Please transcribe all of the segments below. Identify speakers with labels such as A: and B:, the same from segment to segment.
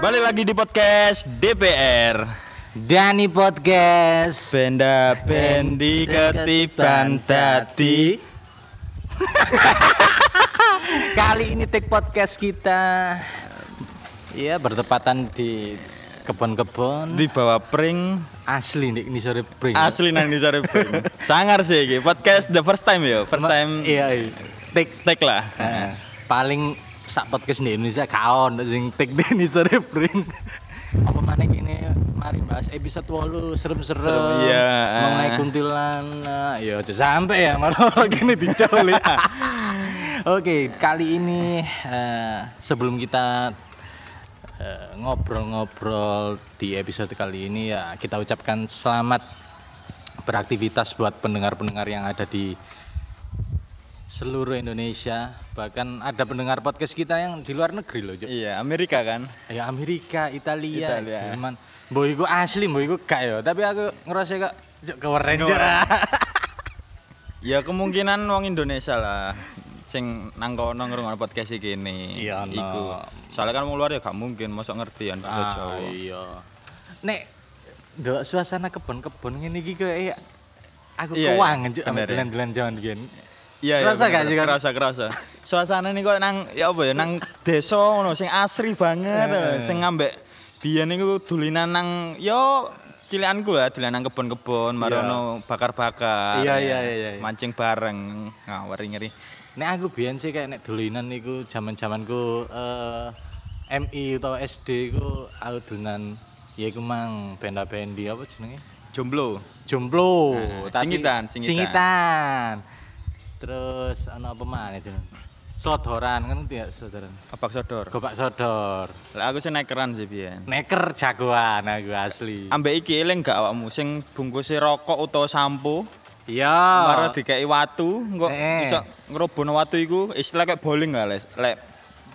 A: Balik lagi di podcast DPR
B: Dani Podcast.
A: Benda bendi ketiban tadi
B: Kali ini take podcast kita. Iya, bertepatan di kebon-kebon.
A: Di bawah pring
B: Asli nih ini sore pring.
A: Asli nang di sore pring Sangar sih iki Podcast the first time ya First time
B: Iya, iya. Take
A: take lah
B: Nah, paling sak podcast di Indonesia kaon sing take di ini sore pring. Apa mana ini mari bahas episode walu serem-serem
A: Serem, iya.
B: mengenai kuntilanak ya aja sampai ya marah gini diculik Oke, kali ini eh, sebelum kita eh, ngobrol-ngobrol di episode kali ini ya kita ucapkan selamat beraktivitas buat pendengar-pendengar yang ada di seluruh Indonesia. Bahkan ada pendengar podcast kita yang di luar negeri loh, Jo.
A: Iya Amerika kan
B: Ya Amerika, Italia,
A: Italia.
B: Jerman. Boy iku asli, boy iku gak yo. Tapi aku ngerasa kok Jok, keren Jo.
A: Ya kemungkinan wong Indonesia lah sing nang kono ngrungokno podcast iki ini
B: Iya, no.
A: iku. Soalnya kan wong luar ya gak mungkin mosok ngerti kan bahasa
B: Ah,
A: Jawa.
B: iya. Nek ndelok suasana kebon-kebon ngene iki kaya aku
A: Iya, iya.
B: kewangen juk
A: Bener,
B: ambek
A: ya.
B: delan-delan jaman biyen.
A: Iya,
B: Kerasa
A: iya,
B: gak
A: bener,
B: sih, kan?
A: Kerasa, kerasa. Suasana nih kok nang ya apa ya nang desa ngono sing asri banget, eh, sing ngambek biyen niku dulinan nang yo cilikanku lah, dulinan nang kebon-kebon, marono bakar-bakar.
B: Iya, iya, iya, iya.
A: Mancing bareng, ngawur ngeri.
B: Nek aku biyen sih kayak nek dolinan niku jaman-jamanku eh MI atau SD ku aku dolinan ya iku mang benda-bendi apa jenenge?
A: Jomblo.
B: Jomblo.
A: Nah, Eh, singitan, singitan.
B: Singitan. Terus ana apa maneh itu? Slodoran kan tidak slodoran.
A: Kabak sodor.
B: Gobak sodor.
A: Lah aku sing nekeran sih biyen.
B: Neker jagoan aku asli.
A: Ambek iki eling gak awakmu sing bungkuse rokok utawa sampo,
B: Iya.
A: Mara dikei watu, engko
B: Ah. Eh.
A: iso ngrobono watu iku istilah kayak bowling gak, Les? Lek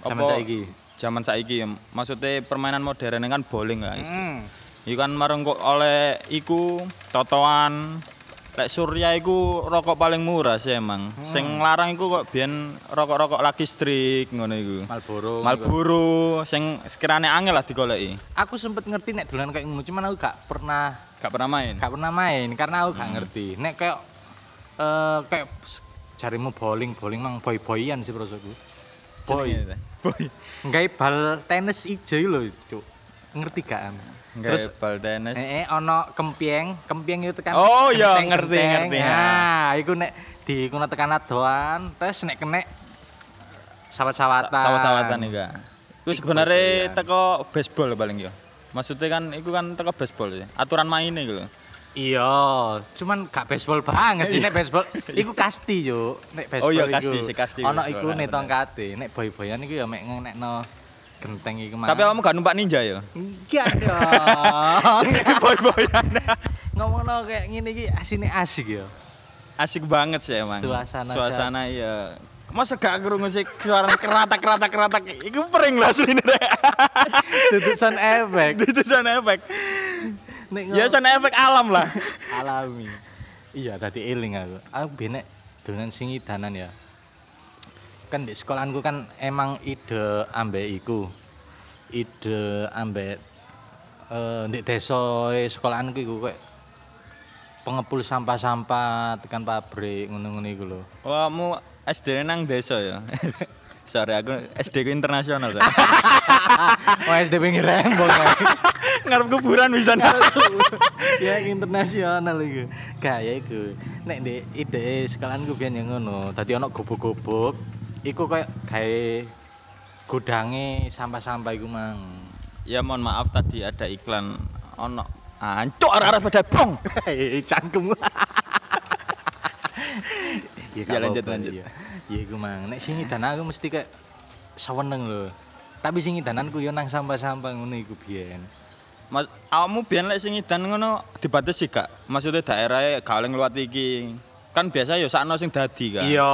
B: Zaman
A: apa-
B: saiki.
A: Zaman saiki ya. Maksudnya permainan modern kan bowling gak, istilah.
B: Hmm.
A: Iku kan marung kok oleh iku totoan lek Surya iku rokok paling murah sih emang.
B: Hmm.
A: Sing larang iku kok biyen rokok-rokok laki strik ngono iku.
B: Marlboro.
A: Malboro sing sekirane angel lah digoleki.
B: Aku sempet ngerti nek dolan kayak ngono, cuman aku gak pernah
A: Gak pernah main.
B: gak pernah main karena aku gak
A: Hmm.
B: ngerti. Nek kayak eh kayak s- jarimu bowling, bowling mang boy-boyan sih prosoku. Boy.
A: Jenenge itu. Boy.
B: Nggae bal tenis ijo iki lho, Cuk. Ngerti gak? Am?
A: Terus bal tenis.
B: Eh, eh, ono kempieng, kempieng itu kan.
A: Oh, iya,
B: kenteng,
A: ngerti,
B: kenteng.
A: ngerti,
B: Nah, iku nek di kuna tekan adoan, terus nek kene sawat-sawatan.
A: sawat-sawatan iku. Kak. Iku sebenarnya teko baseball paling yo. Maksudnya kan iku kan teko baseball sih. Aturan mainnya iku lho.
B: Iya, cuman gak baseball banget sih nek baseball. Iku kasti, Cuk. Nek
A: Oh
B: baseball
A: iya,
B: iku.
A: kasti sih, kasti
B: Ono
A: baseball,
B: iku
A: bener.
B: nek tongkate, nek boy-boyan iku ya mek ngenekno genteng iku mah.
A: Tapi kamu gak numpak ninja yo.
B: enggak dong.
A: Boy-boyan.
B: Ngomongno kayak ngene iki asine asik ya.
A: Asik banget sih emang.
B: Suasana
A: Suasana iya. Masa gak kerungu sih suara keratak-keratak-keratak. Iku pering lah asline rek.
B: Dudusan efek.
A: Itu sana efek.
B: Nek
A: Ya sana efek alam lah.
B: alami iya tadi eling aku aku benek dolan singi danan ya kan di sekolahanku kan emang ide ambek iku ide ambek eh di desa sekolahanku iku kayak pengepul sampah-sampah tekan pabrik ngono-ngono iku lho
A: Wah, mu SD nang desa ya. Sorry aku SD ku internasional. Rek.
B: oh SD pinggir rembong ya.
A: Ngarep kuburan bisa
B: ya internasional iku. Gaya iku. Nek di ide sekolahanku biyen yang ngono. Dadi ana gobok-gobok iku kayak gawe gudange sampah-sampah iku mang.
A: Ya mohon maaf tadi ada iklan ono ancok arah-arah pada bong.
B: cangkem. ya,
A: Ya, lanjut, lanjut.
B: Ya, ya iku mang. Nek singidan aku mesti kayak saweneng lho. Tapi singidananku yo nang sampah-sampah ngono iku biyen.
A: Mas, awakmu biyen lek sing idan ngono dibatasi gak? Maksudnya daerahnya gak oleh ngliwat iki. Kan biasa ya sakno sing dadi kan.
B: Iya.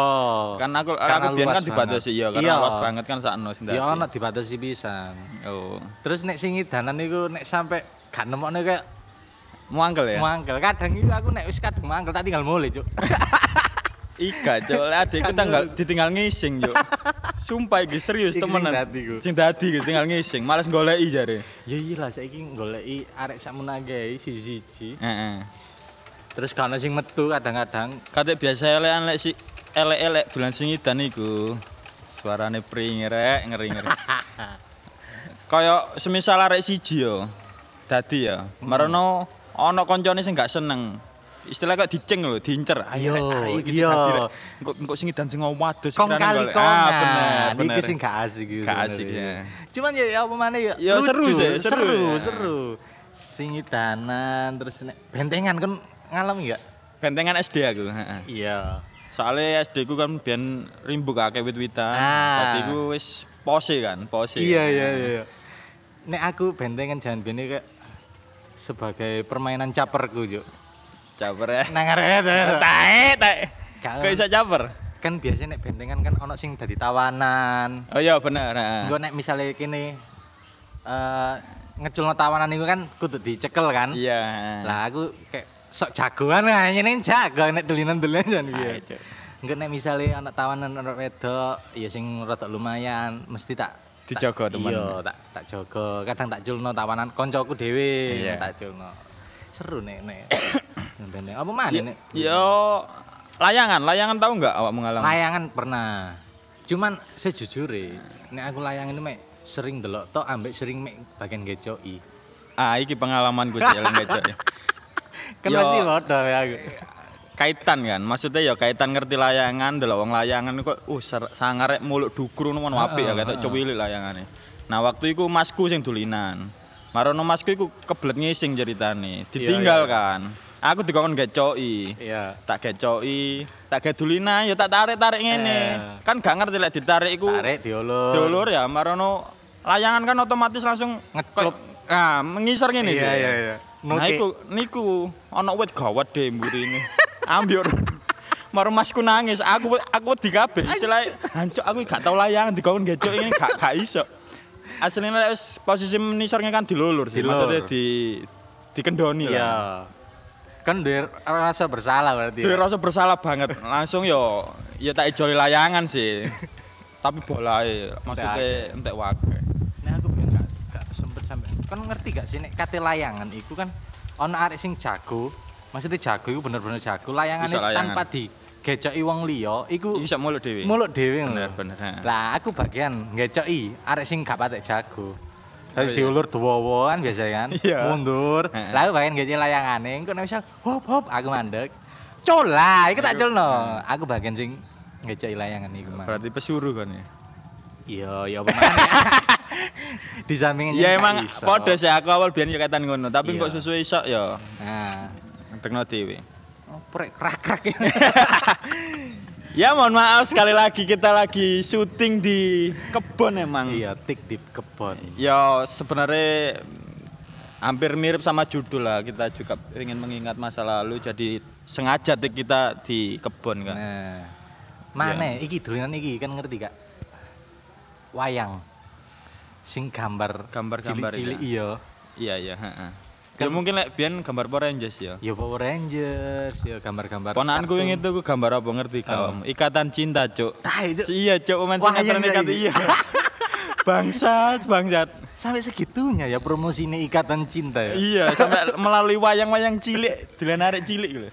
A: Kan aku
B: Karena
A: aku biyen
B: luas
A: kan dibatasi
B: banget.
A: ya karena luas banget kan sakno sing dadi.
B: Ya ana dibatasi pisan.
A: Oh.
B: Terus nek sing idanan niku nek sampe gak nemokne kayak
A: Muangkel ya?
B: mangkel. Kadang iku aku nek wis kadung mangkel tak tinggal mulai, Cuk.
A: Ika, cok. Lah adikku tanggal ditinggal ngising, cok. Sumpah iki serius
B: Iki sing
A: temenan.
B: dadi ku.
A: Sing dadi ku tinggal ngising, males goleki jare.
B: Ya iya lah saiki goleki arek sak menangai siji-siji.
A: Heeh.
B: Terus kalau sing metu kadang-kadang
A: Kate biasa elekan lek si elek-elek dolan sing idan iku. Suarane pring rek, ngeri-ngeri. Kaya semisal arek siji yo. Dadi ya.
B: Hmm.
A: Marono ana koncone sing gak seneng. Istilah kok dicing lho, diincer. Ayo, rek, ayo iki
B: Iya.
A: dadi, rek. Engko engko sing idan sing wadus
B: kong
A: kirane
B: kali
A: golek.
B: kongan.
A: Ah, bener, bener.
B: Iki sing gak asik iku
A: Gak
B: sebenarnya.
A: asik, ya.
B: Cuman ya ya apa maneh ya,
A: Ya, seru
B: lucu,
A: sih, seru,
B: seru,
A: ya.
B: seru. Sing idanan terus nek bentengan kan ngalami enggak?
A: Bentengan SD aku, heeh.
B: Iya.
A: Soalnya SD ku kan biyen rimbuk akeh wit-witan.
B: Ah.
A: Tapi ku wis pose kan, pose.
B: Iya iya iya. Nek aku bentengan jangan bene kayak sebagai permainan caperku, Juk.
A: Caper eh. ya.
B: Nang arek
A: Tae, tae.
B: Gak-
A: Kok iso caper?
B: kan biasanya nek bentengan kan ono sing dadi tawanan.
A: Oh iya bener. heeh.
B: Engko nek misalnya kini eh ngeculno tawanan itu kan kudu dicekel kan.
A: Iya.
B: Lah aku kayak sok jagoan lah nyene jago nek dolinan-dolinan jan
A: Ayo,
B: iki.
A: Cuk.
B: Engko nek misale anak tawanan anak wedok ya sing rada lumayan mesti tak tak-
A: Dijaga, teman.
B: Iya, tak tak jaga. Kadang tak culno tawanan koncoku dhewe
A: Iya.
B: tak culno. Seru nek nek. Benteng. Apa mana nek?
A: Yo layangan, layangan tahu nggak awak mengalami?
B: Layangan pernah. Cuman sejujurnya nek aku layangan itu mek sering delok tok ambek sering mek bagian gecoki.
A: Ah, iki pengalaman gue sih, eleng aja.
B: Kan
A: Yo.
B: pasti bodoh ya aku.
A: Kaitan kan, maksudnya ya kaitan ngerti layangan, delok wong layangan kok uh ser- sangar rek muluk dukur ngono uh, apik ya ketok cowilik layangane. Nah, waktu iku masku sing dolinan. Marono masku iku kebelet ngising ceritane, ditinggal kan. Aku dikongkon gecoki.
B: Iya.
A: tak gecoki, tak gedulina ya tak tarik-tarik ngene. Kan gak ngerti lek ditarik iku
B: Eh. Tarik diulur.
A: diulur ya marono layangan kan otomatis langsung
B: Ngeclup.
A: kayak- Nah, mengisor ngene
B: Iya,
A: dia.
B: iya, iya.
A: Nah,
B: Nutik.
A: iku niku ana wit gawat deh mburine. Ambyur. Maru masku nangis, aku aku dikabel istilah hancur aku gak tau layangan dikon gecok ini gak gak iso. Aslinya lek wis posisi menisornya kan dilulur sih,
B: Dilulur.
A: maksudnya di dikendoni lah.
B: Iya. Kan dia rasa bersalah berarti.
A: Dhewe
B: ya?
A: rasa bersalah banget. Langsung yo ya tak ijoli layangan sih. Tapi bolae maksudnya entek wae.
B: Nah aku pengen gak, gak sempet sampai. Kan ngerti gak sih nek kate layangan iku kan ono arek sing jago. Maksudnya jago iku bener-bener jago. Layangane
A: Bisa layangan.
B: tanpa digecoki wong liya iku
A: Iso mulut dhewe.
B: mulut dhewe ngono.
A: Bener, bener, ha.
B: Lah aku bagian ngecoki arek sing gak patek jago.
A: Oh,
B: Tadi
A: iya.
B: diulur duwowo kan biasa kan.
A: Iya.
B: Mundur.
A: Heeh.
B: Lalu bagian ngecoki layangane engko nek misal hop hop aku mandek. Cola, iku tak
A: Hmm.
B: colno. Aku bagian sing ngecoki layangan iku mah.
A: Berarti pesuruh kan ya.
B: Iya, ya apa maneh. Di samping
A: Ya
B: nyentak
A: emang
B: iso.
A: podo sih aku awal biyen yo ketan ngono, tapi
B: Iya.
A: kok susu iso yo
B: Nah,
A: ngetekno dhewe.
B: oprek krak-krak.
A: Ya mohon maaf sekali lagi kita lagi syuting di kebon emang.
B: iya, tik di kebon.
A: Ya sebenarnya hampir mirip sama judul lah kita juga ingin mengingat masa lalu jadi sengaja tik kita di kebon kan.
B: Nah. Mana Eh, iki dolanan iki kan ngerti gak? Wayang. Sing gambar
A: Gambar-gambar
B: cilik-cilik
A: iya.
B: iya.
A: Iya iya. heeh. Ya mungkin lek biyen gambar Power Rangers ya.
B: Ya Power Rangers, ya gambar-gambar.
A: Ponakanku
B: kartun.
A: yang Oh. itu ku gambar apa ngerti kamu? Ikatan cinta cuk.
B: Tai, Cuk.
A: Si- Iya cuk, main
B: Wah,
A: sinetron
B: iya, iya,
A: ikat
B: iya.
A: iya. bangsat, bangsat.
B: sampai segitunya ya promosi ini ikatan cinta ya.
A: Iya, sampai melalui wayang-wayang cilik, dilenarik cilik gitu.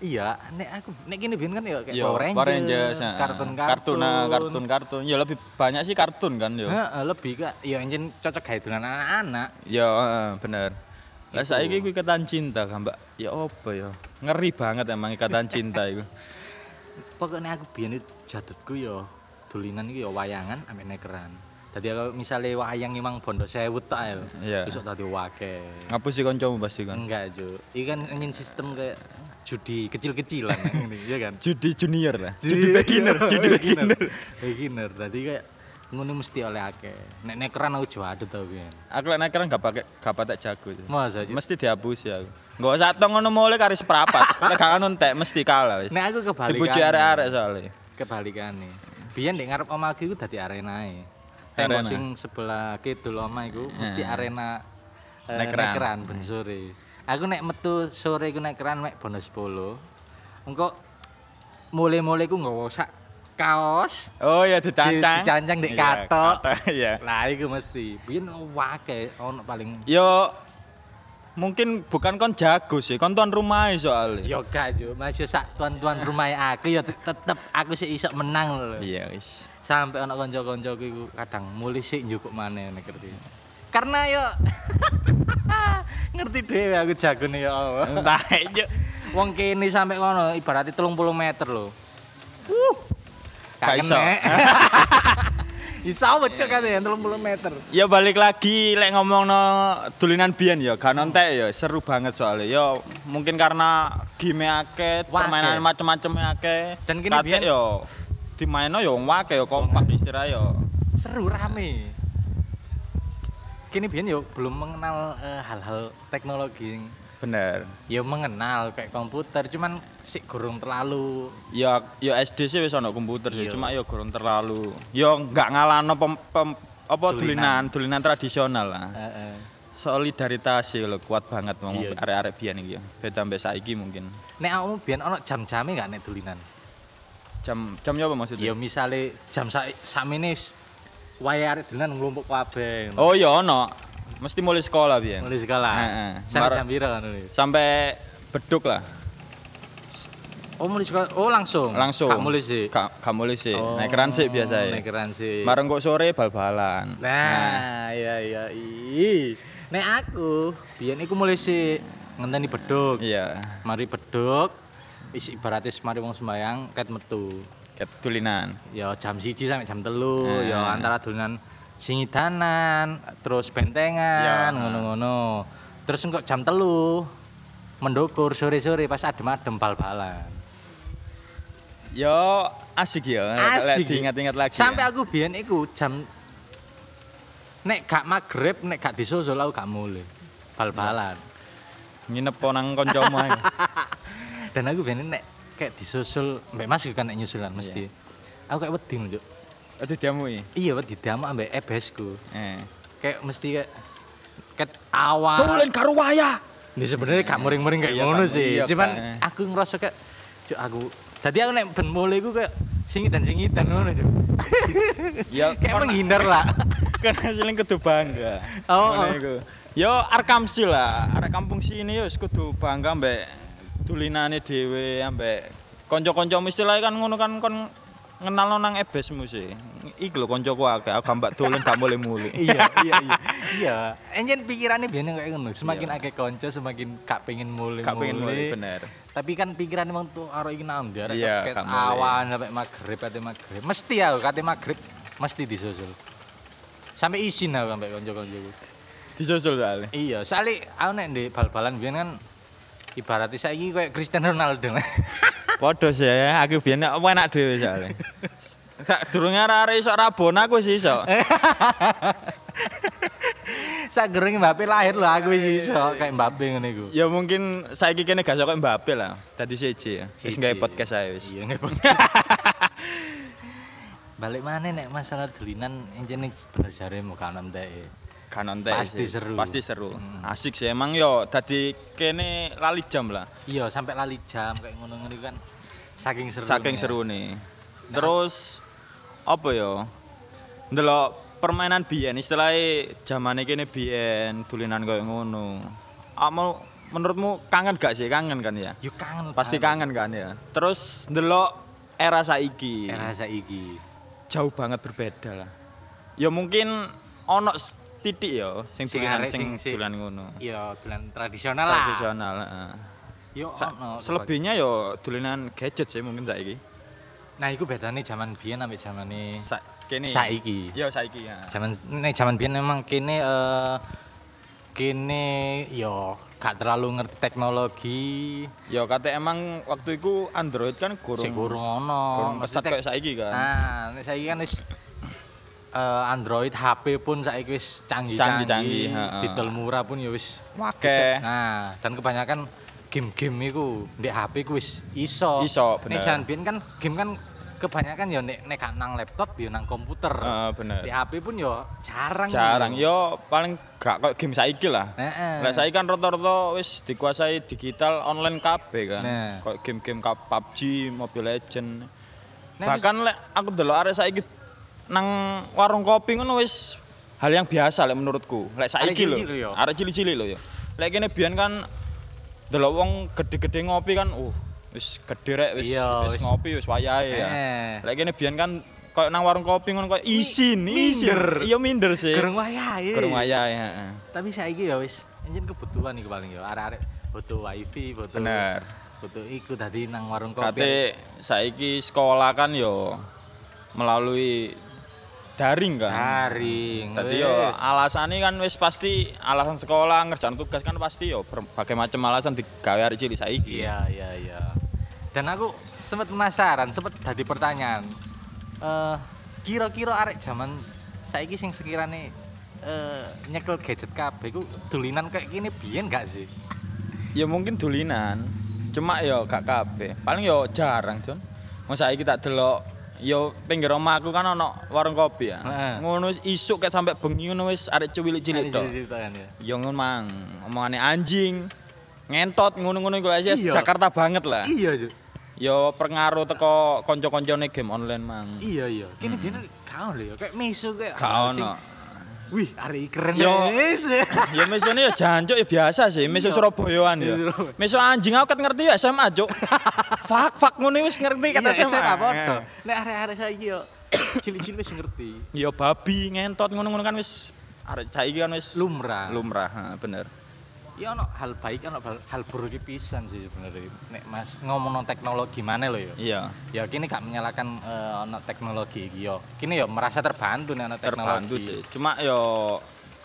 B: Iya, nek aku nek gini biyen kan ya kayak
A: Iya,
B: Power Rangers,
A: heeh.
B: kartun-kartun.
A: kartun, nah, kartun, kartun. Ya lebih banyak sih kartun kan yo.
B: Heeh, lebih kak ya anjen cocok gawe dolanan anak-anak.
A: Ya, heeh, bener. Lah saiki ku ikatan cinta gambar. Ya apa ya? Ngeri banget emang ikatan cinta itu.
B: Pokoknya aku biyen itu jadutku ya dolinan iki ya wayangan ambek nekeran. Dadi aku misale wayang emang bondo sewut tok ae.
A: Iya.
B: Iso dadi wake.
A: Ngapusi kancamu pasti kan.
B: Enggak, Ju. Iki kan anjen sistem kayak judi kecil-kecilan ngene, iya kan?
A: Judi junior lah. Judi beginner,
B: Oh,
A: judi beginner.
B: Beginner. Dadi kayak ngono mesti oleh akeh. Nek nekeran aku jadut tau biyen.
A: Aku lek naik gak pakai gak patek jago. sih.
B: Masa, Ju?
A: Mesti dihapus ya aku. Enggak usah tong ngono mulai kari seprapat. Lek gak ngono entek mesti kalah wis.
B: Nek aku kebalikan.
A: Dipuji arek-arek soalnya.
B: kebalikane. Biyen nek ngarep omah aku iku dadi arenae. Tembok
A: Arena.
B: sing sebelah kidul omah iku mesti arena eh,
A: Nekeran.
B: nekeran ben sore. Aku nek metu sore iku nekeran mek bono 10. Engko mulai-mulai ku nggawa sak kaos
A: Oh ya dicancang.
B: Di- dicancang, dek
A: Iya,
B: katok.
A: katok, Iya.
B: lah iku mesti biyen wake ono paling
A: Yo mungkin bukan kon jago sih, kon tuan rumah soalnya.
B: yo gak yo masih sak tuan-tuan rumah aku ya tetep aku sih iso menang lho
A: Iya wis.
B: sampai ono kanca-kancaku iku kadang mulih sik njukuk maneh nek ngerti karena yo ngerti dhewe aku jagone ya Allah
A: Entah yo.
B: Wong kene sampe kono ibaratnya 30 meter lho. Wuh.
A: Gak
B: Gak
A: iso.
B: kena. Iso wecuk kate 30 meter.
A: Ya balik lagi lek ngomongno dulinan biyen ya gak nontek ya seru banget soalnya. Ya mungkin karena game akeh,
B: Wake.
A: permainan macem-macemnya akeh.
B: Dan kini
A: Katik
B: biyen-
A: yo dimainno yo wong akeh yo kompak istirahat ya. yo.
B: Seru rame. Kini biyen yo belum mengenal eh, hal-hal teknologi. yang-
A: Bener.
B: Ya mengenal kayak komputer, cuman sik gurung terlalu
A: Ya ya SD sih wis ono komputer sih,
B: Iya.
A: cuma yo kurang terlalu. Yo nggak ngalahno pem, pem- apa
B: Dulinan.
A: dulinan, dulinan tradisional lah.
B: eh, eh.
A: solidaritas sih lho, kuat banget wong
B: Iya.
A: arek-arek biyen iki ya. Beda mbek saiki mungkin.
B: Nek awakmu biyen ono jam-jame gak nek dolinan?
A: Jam jamnya apa
B: Ya
A: maksudnya?
B: misale jam sak sakmene wis wayahe arek dolan nglumpuk kabeh.
A: Oh iya ono. Mesti mulai sekolah biyen.
B: Mulai sekolah.
A: Heeh.
B: Sampai
A: Mar-
B: jam pira kan nulis?
A: Sampai beduk lah.
B: Oh mulai sekolah, oh langsung?
A: Langsung.
B: Kak mulai sih? Oh,
A: Ka, gak mulai sih. Naik ransik biasa ya.
B: Naik sih.
A: Mareng kok sore bal-balan.
B: Nah, iya iya iya. Nek aku, biyen iku mulai sih ngenteni beduk.
A: Iya.
B: Mari beduk, isi ibaratnya mari wong sembayang ket metu.
A: Ket dulinan.
B: Ya jam siji sampai jam telu,
A: Eh.
B: ya antara dolanan singidanan, terus
A: Ya.
B: bentengan, ngono-ngono. Terus engko jam telu mendukur sore-sore pas adem-adem bal-balan.
A: Yo asik ya.
B: Asik.
A: Ingat-ingat Eh, lagi.
B: Sampai
A: ya.
B: aku biyen iku jam nek gak magrib, nek gak disusul aku gak mulai bal-balan.
A: nginep po nang kancamu ae.
B: Dan aku biyen nek kayak disusul, mbak Mas juga nek nyusulan mesti. Aku kayak wedi njuk.
A: Ati diamui.
B: Iya wedi damu ambek ebesku.
A: Eh.
B: Kayak mesti kayak kayak awal.
A: karo waya.
B: Ini sebenarnya gak muring-muring kayak
A: Iya,
B: ngono
A: gak-
B: sih.
A: iya,
B: Cuman
A: gak-
B: aku ngerasa kayak cuk aku tadi aku nek ben mulai aku kayak singitan singitan ngono cuk.
A: Ya
B: Kayak menghindar lah.
A: karena siling kudu bangga.
B: Oh,
A: Ngono
B: oh.
A: iku. Yo arek kampsi lah, arek kampung sini yo wis kudu bangga mbek dulinane dhewe ambek kanca-kanca istilahnya kan ngono kan kon ngenalno nang ebesmu sih. Iki lho kancaku akeh, aku mbak dolen gak boleh muli.
B: iya iya iya iya enjen pikirannya biasanya kayak ngono semakin akeh konco semakin gak pengen mulai
A: Gak pengen mulai, bener.
B: tapi kan pikirannya emang tuh arah ingin ambiar
A: Iya, gak
B: kayak
A: mulai.
B: awan sampai maghrib kate maghrib mesti aku kate maghrib mesti disusul sampai isin aku sampai konco konco
A: Disusul soalnya.
B: iya soalnya aku nek di bal-balan biyen kan ibaratnya saya ini kayak Cristiano Ronaldo
A: Padha sih, aku biyen nek enak dhewe soalnya. Sak durunge arek-arek iso rabon aku sih iso.
B: Eh? saya gerung Mbappe lahir loh aku sih so kayak Mbappe ngene iku
A: Ya mungkin saiki kene gak sok Mbappe lah. Dadi siji ya. Wis
B: Siji.
A: gawe podcast ae wis.
B: Iya nggak Balik mana nek masalah dolinan enjene bener jare mau kanan teh.
A: Kanon teh
B: Pasti
A: sih.
B: seru.
A: Pasti seru. Asik sih emang yo dadi kene lali jam lah.
B: Iya sampai lali jam kayak ngono-ngono iku kan saking seru.
A: Saking seru nih. Terus apa yo? Ndelok permainan biyen istilahnya zamane kene biyen dulinan koyo ngono. Amu menurutmu kangen gak sih? Kangen kan ya?
B: Yo kangen.
A: Pasti kangen kan ya. Terus ndelok era saiki.
B: Era saiki.
A: jauh banget berbeda lah. Ya mungkin ono s- titik ya sing
B: Sing
A: dolan
B: arek
A: sing
B: sing-
A: dolan ngono.
B: Yo dolan tradisional lah.
A: Hmm. Tradisional, heeh.
B: Yo
A: Sa- Oh,
B: ono.
A: Selebihnya ya dolanan gadget sih mungkin saiki.
B: Nah, iku bedane zaman biyen ambek zamane
A: Sa kene.
B: saiki.
A: Ya saiki ya.
B: Zaman nek zaman biyen memang kene eh kene yo gak terlalu ngerti teknologi.
A: Ya kate emang waktu itu Android kan gurung.
B: Sik gurung ono.
A: gurung
B: Mesti
A: pesat
B: tek-
A: kayak saiki kan.
B: Nah, nek saiki kan wis eh, Android HP pun saiki wis canggih-canggih.
A: Canggih-canggih, heeh.
B: Detail murah pun ya wis
A: Wake.
B: iso. Nah, dan kebanyakan game-game iku ndek HP ku wis iso.
A: Iso, bener.
B: Nek sampeyan kan game kan kebanyakan ya nek nek gak nang laptop ya nang komputer.
A: Heeh, Ah, bener.
B: Di HP pun ya jarang.
A: Jarang yo paling gak kok game saiki lah.
B: Heeh.
A: Lah saiki kan rata-rata wis dikuasai digital online kabeh kan.
B: Nah.
A: Kok game-game kayak PUBG, Mobile Legend.
B: Nah,
A: Bahkan lek aku delok arek saiki nang warung kopi ngono wis hal yang biasa lek menurutku. Lek saiki
B: Arek cilik-cilik yo.
A: lho. Arek cilik-cilik lho yo. Lek kene biyen kan delok wong gede-gede ngopi kan uh wis gede rek wis
B: Iya,
A: wis
B: wis-
A: ngopi wis wayahe ya.
B: Eh.
A: Lek kene biyen kan koyo nang warung kopi ngono koyo isin, isin.
B: minder.
A: Iya minder sih.
B: Gerung wayahe.
A: Kurang wayahe, heeh.
B: iya. Tapi saiki ya wis anjen kebutuhan iku paling ya arek-arek butuh wifi, butuh
A: Bener.
B: butuh iku tadi nang warung kopi.
A: Kate saiki sekolah kan yo melalui daring kan.
B: Daring.
A: Tadi yo
B: Ah, wis.
A: alasannya kan wis pasti alasan sekolah ngerjain tugas kan pasti yo berbagai macam alasan digawe arek cilik saiki.
B: Iya, iya, iya. Dan aku sempat penasaran, sempat tadi pertanyaan. Eh, kira-kira arek zaman saiki sing sekirane eh nyekel gadget kabeh ku dolinan kayak gini biyen gak sih?
A: Ya mungkin dolinan. Cuma yo gak kabeh. Paling yo jarang, Jon. Mau saiki tak delok yo pinggir omahku kan ono warung kopi ya.
B: Heeh.
A: Ngono wis isuk kayak sampai bengi ngono wis arek cilik-cilik tok.
B: Cerita-ceritaan ya.
A: Ya ngono mang, omongane anjing, ngentot ngono-ngono iku lah,
B: Iya.
A: Jakarta banget lah.
B: Iya, Ju.
A: Ya pengaruh teko kanca-kancane game online mang.
B: Iya, iya. Kini biyen gak ono lho ya, kayak mesu kayak
A: Gak
B: hal
A: ono.
B: sing- Wih, arek keren
A: Yo.
B: wis.
A: Ya mesone ya jancuk ya biasa sih, meso
B: Iya.
A: Surabayaan ya.
B: Iya, Surabaya.
A: Meso anjing aku ket ngerti ya SMA, Cuk. Fak fak ngono wis ngerti kata
B: Iya,
A: SMA.
B: SMA padha. Nek arek-arek saiki yo cilik-cilik wis ngerti.
A: Ya babi ngentot ngono-ngono kan wis arek saiki kan wis
B: Lumrah.
A: lumrah, ha, bener.
B: Ya ono hal baik ono hal, hal buruk iki pisan sih sebenarnya. Nek Mas ngomong teknologi mana lho ya.
A: Iya.
B: Ya kini gak menyalahkan eh, ono teknologi iki yo. Kini yo merasa terbantu nek ono teknologi.
A: terbantu sih. Cuma ya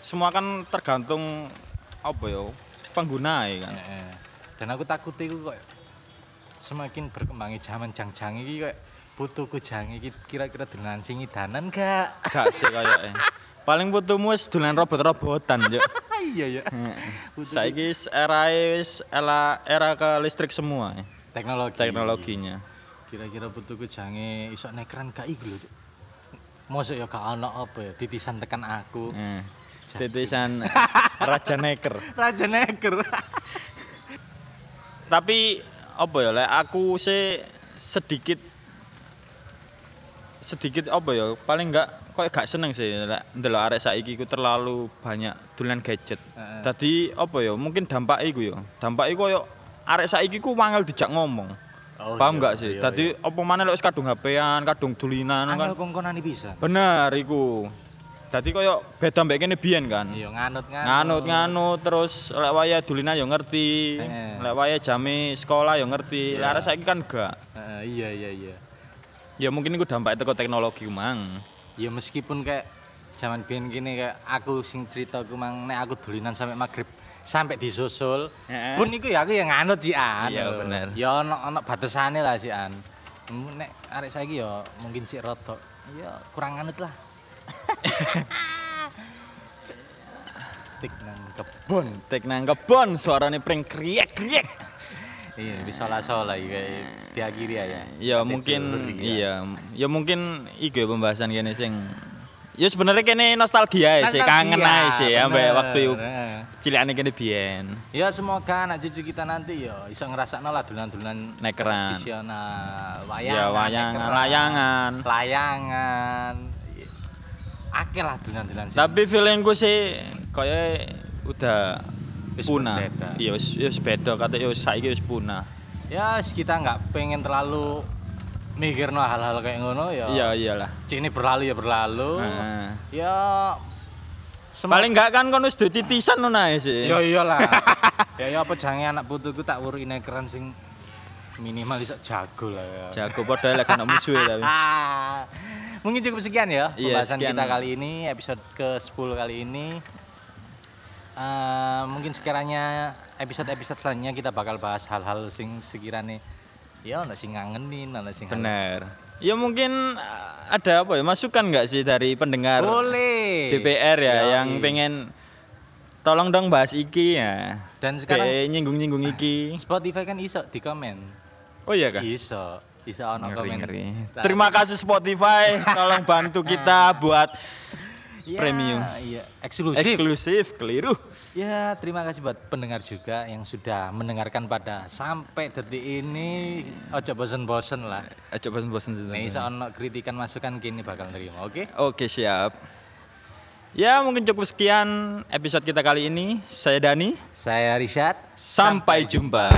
A: semua kan tergantung apa ya pengguna ya kan.
B: Heeh. Dan aku takut iku kok semakin berkembangnya zaman jang-jang iki kok putuku jang iki kira-kira dengan sing idanan gak?
A: Gak sih kayaknya. Paling butuhmu wis dolan robot-robotan yo.
B: iya ya.
A: Hmm. Saiki wis erae wis era era ke listrik semua ya,
B: Teknologi.
A: teknologinya.
B: Kira-kira putuku jange iso nekran gak iku lho. Cuk. Mosok ya gak ono apa ya titisan tekan aku.
A: Eh. Titisan Raja Neker.
B: Raja Neger.
A: Tapi apa ya lek aku sih sedikit sedikit apa ya paling enggak kok gak seneng sih lek ndelok arek saiki ku terlalu banyak dolan gadget.
B: Heeh.
A: Tadi apa ya mungkin dampak iku ya. Dampak iku koyo arek saiki ku wangel dijak ngomong.
B: Oh,
A: Paham
B: iya,
A: enggak sih?
B: iya,
A: Tadi apa mana lek wis kadung HP-an, kadung dulinan kan.
B: Angel kongkonane bisa.
A: Bener iku. Tadi koyo beda mbek kene biyen kan.
B: Iya nganut nganut.
A: nganut nganut terus lek waya dulina yo ngerti
B: Eh. Iya.
A: lek waya jame sekolah yo ngerti lek arek saiki kan gak
B: Heeh, iya iya iya.
A: ya mungkin iku dampak teko teknologi mang
B: Ya meskipun kayak zaman biyen kini kayak aku sing cerita ku mang nek aku dolinan sampai maghrib sampai disusul
A: Heeh.
B: pun iku ya aku ya nganut sih an
A: Iya, bener.
B: ya ono ono batasane lah sih an Mm, nek arek saiki ya mungkin sik rada ya kurang nganut lah tik nang kebon
A: tek nang kebon suarane pring kriek kriek
B: iya bisa lah lah iki kayak diakhiri aja
A: ya mungkin iya ya mungkin iku ya pembahasan kene sing ya sebenarnya kene nostalgia ya sih kangen ae sih ya mbak waktu itu cilikane kene biyen
B: Ya semoga anak cucu kita nanti ya iso ngrasakno lah dolan-dolan
A: Nekeran.
B: tradisional, wayangan.
A: ya wayangan
B: nekeran,
A: layangan
B: Layangan. Akeh lah dolan-dolan sini.
A: Tapi feelingku sih kaya udah
B: Wis
A: punah.
B: berbeda.
A: Iya wis wis beda kate yo saiki wis punah.
B: ya wis kita nggak pengen terlalu mikirno hal-hal kayak ngono ya.
A: Iya iyalah.
B: Ini berlalu ya berlalu.
A: Heeh.
B: Ya semoga-
A: Paling enggak kan kon wis duwe titisan ngono ae sih.
B: Ya iyalah. ya ya apa jange anak putuku tak wuri nekeran sing minimal iso jago lah ya.
A: Jago padha lek ana musuhe tapi.
B: Ah. Mungkin cukup sekian ya
A: Iya,
B: pembahasan
A: sekian.
B: kita kali ini, episode ke-10 kali ini. Eh, mungkin sekiranya episode-episode selanjutnya kita bakal bahas hal-hal sing sekiranya ya ono sing ngangenin, ono sing
A: Bener. Ya mungkin eh, ada apa ya masukan enggak sih dari pendengar
B: boleh.
A: DPR ya
B: Yoi.
A: yang pengen tolong dong bahas iki ya.
B: Dan sekarang-
A: Kayak nyinggung-nyinggung iki.
B: Spotify kan iso di komen.
A: Oh iya kan?
B: Iso. Bisa ono
A: Ngeri,
B: komen.
A: ngeri. Terima kasih Spotify, tolong bantu kita buat
B: Ya,
A: premium.
B: Iya,
A: Eh,
B: eksklusif.
A: eksklusif keliru.
B: Ya, terima kasih buat pendengar juga yang sudah mendengarkan pada sampai detik ini. Ojo bosen-bosen lah.
A: Eh, Coba bosan
B: Nek iso ono kritikan masukan kini bakal nerima, oke?
A: Oke siap. Ya mungkin cukup sekian episode kita kali ini. Saya Dani.
B: Saya Rishad.
A: Sampai jumpa.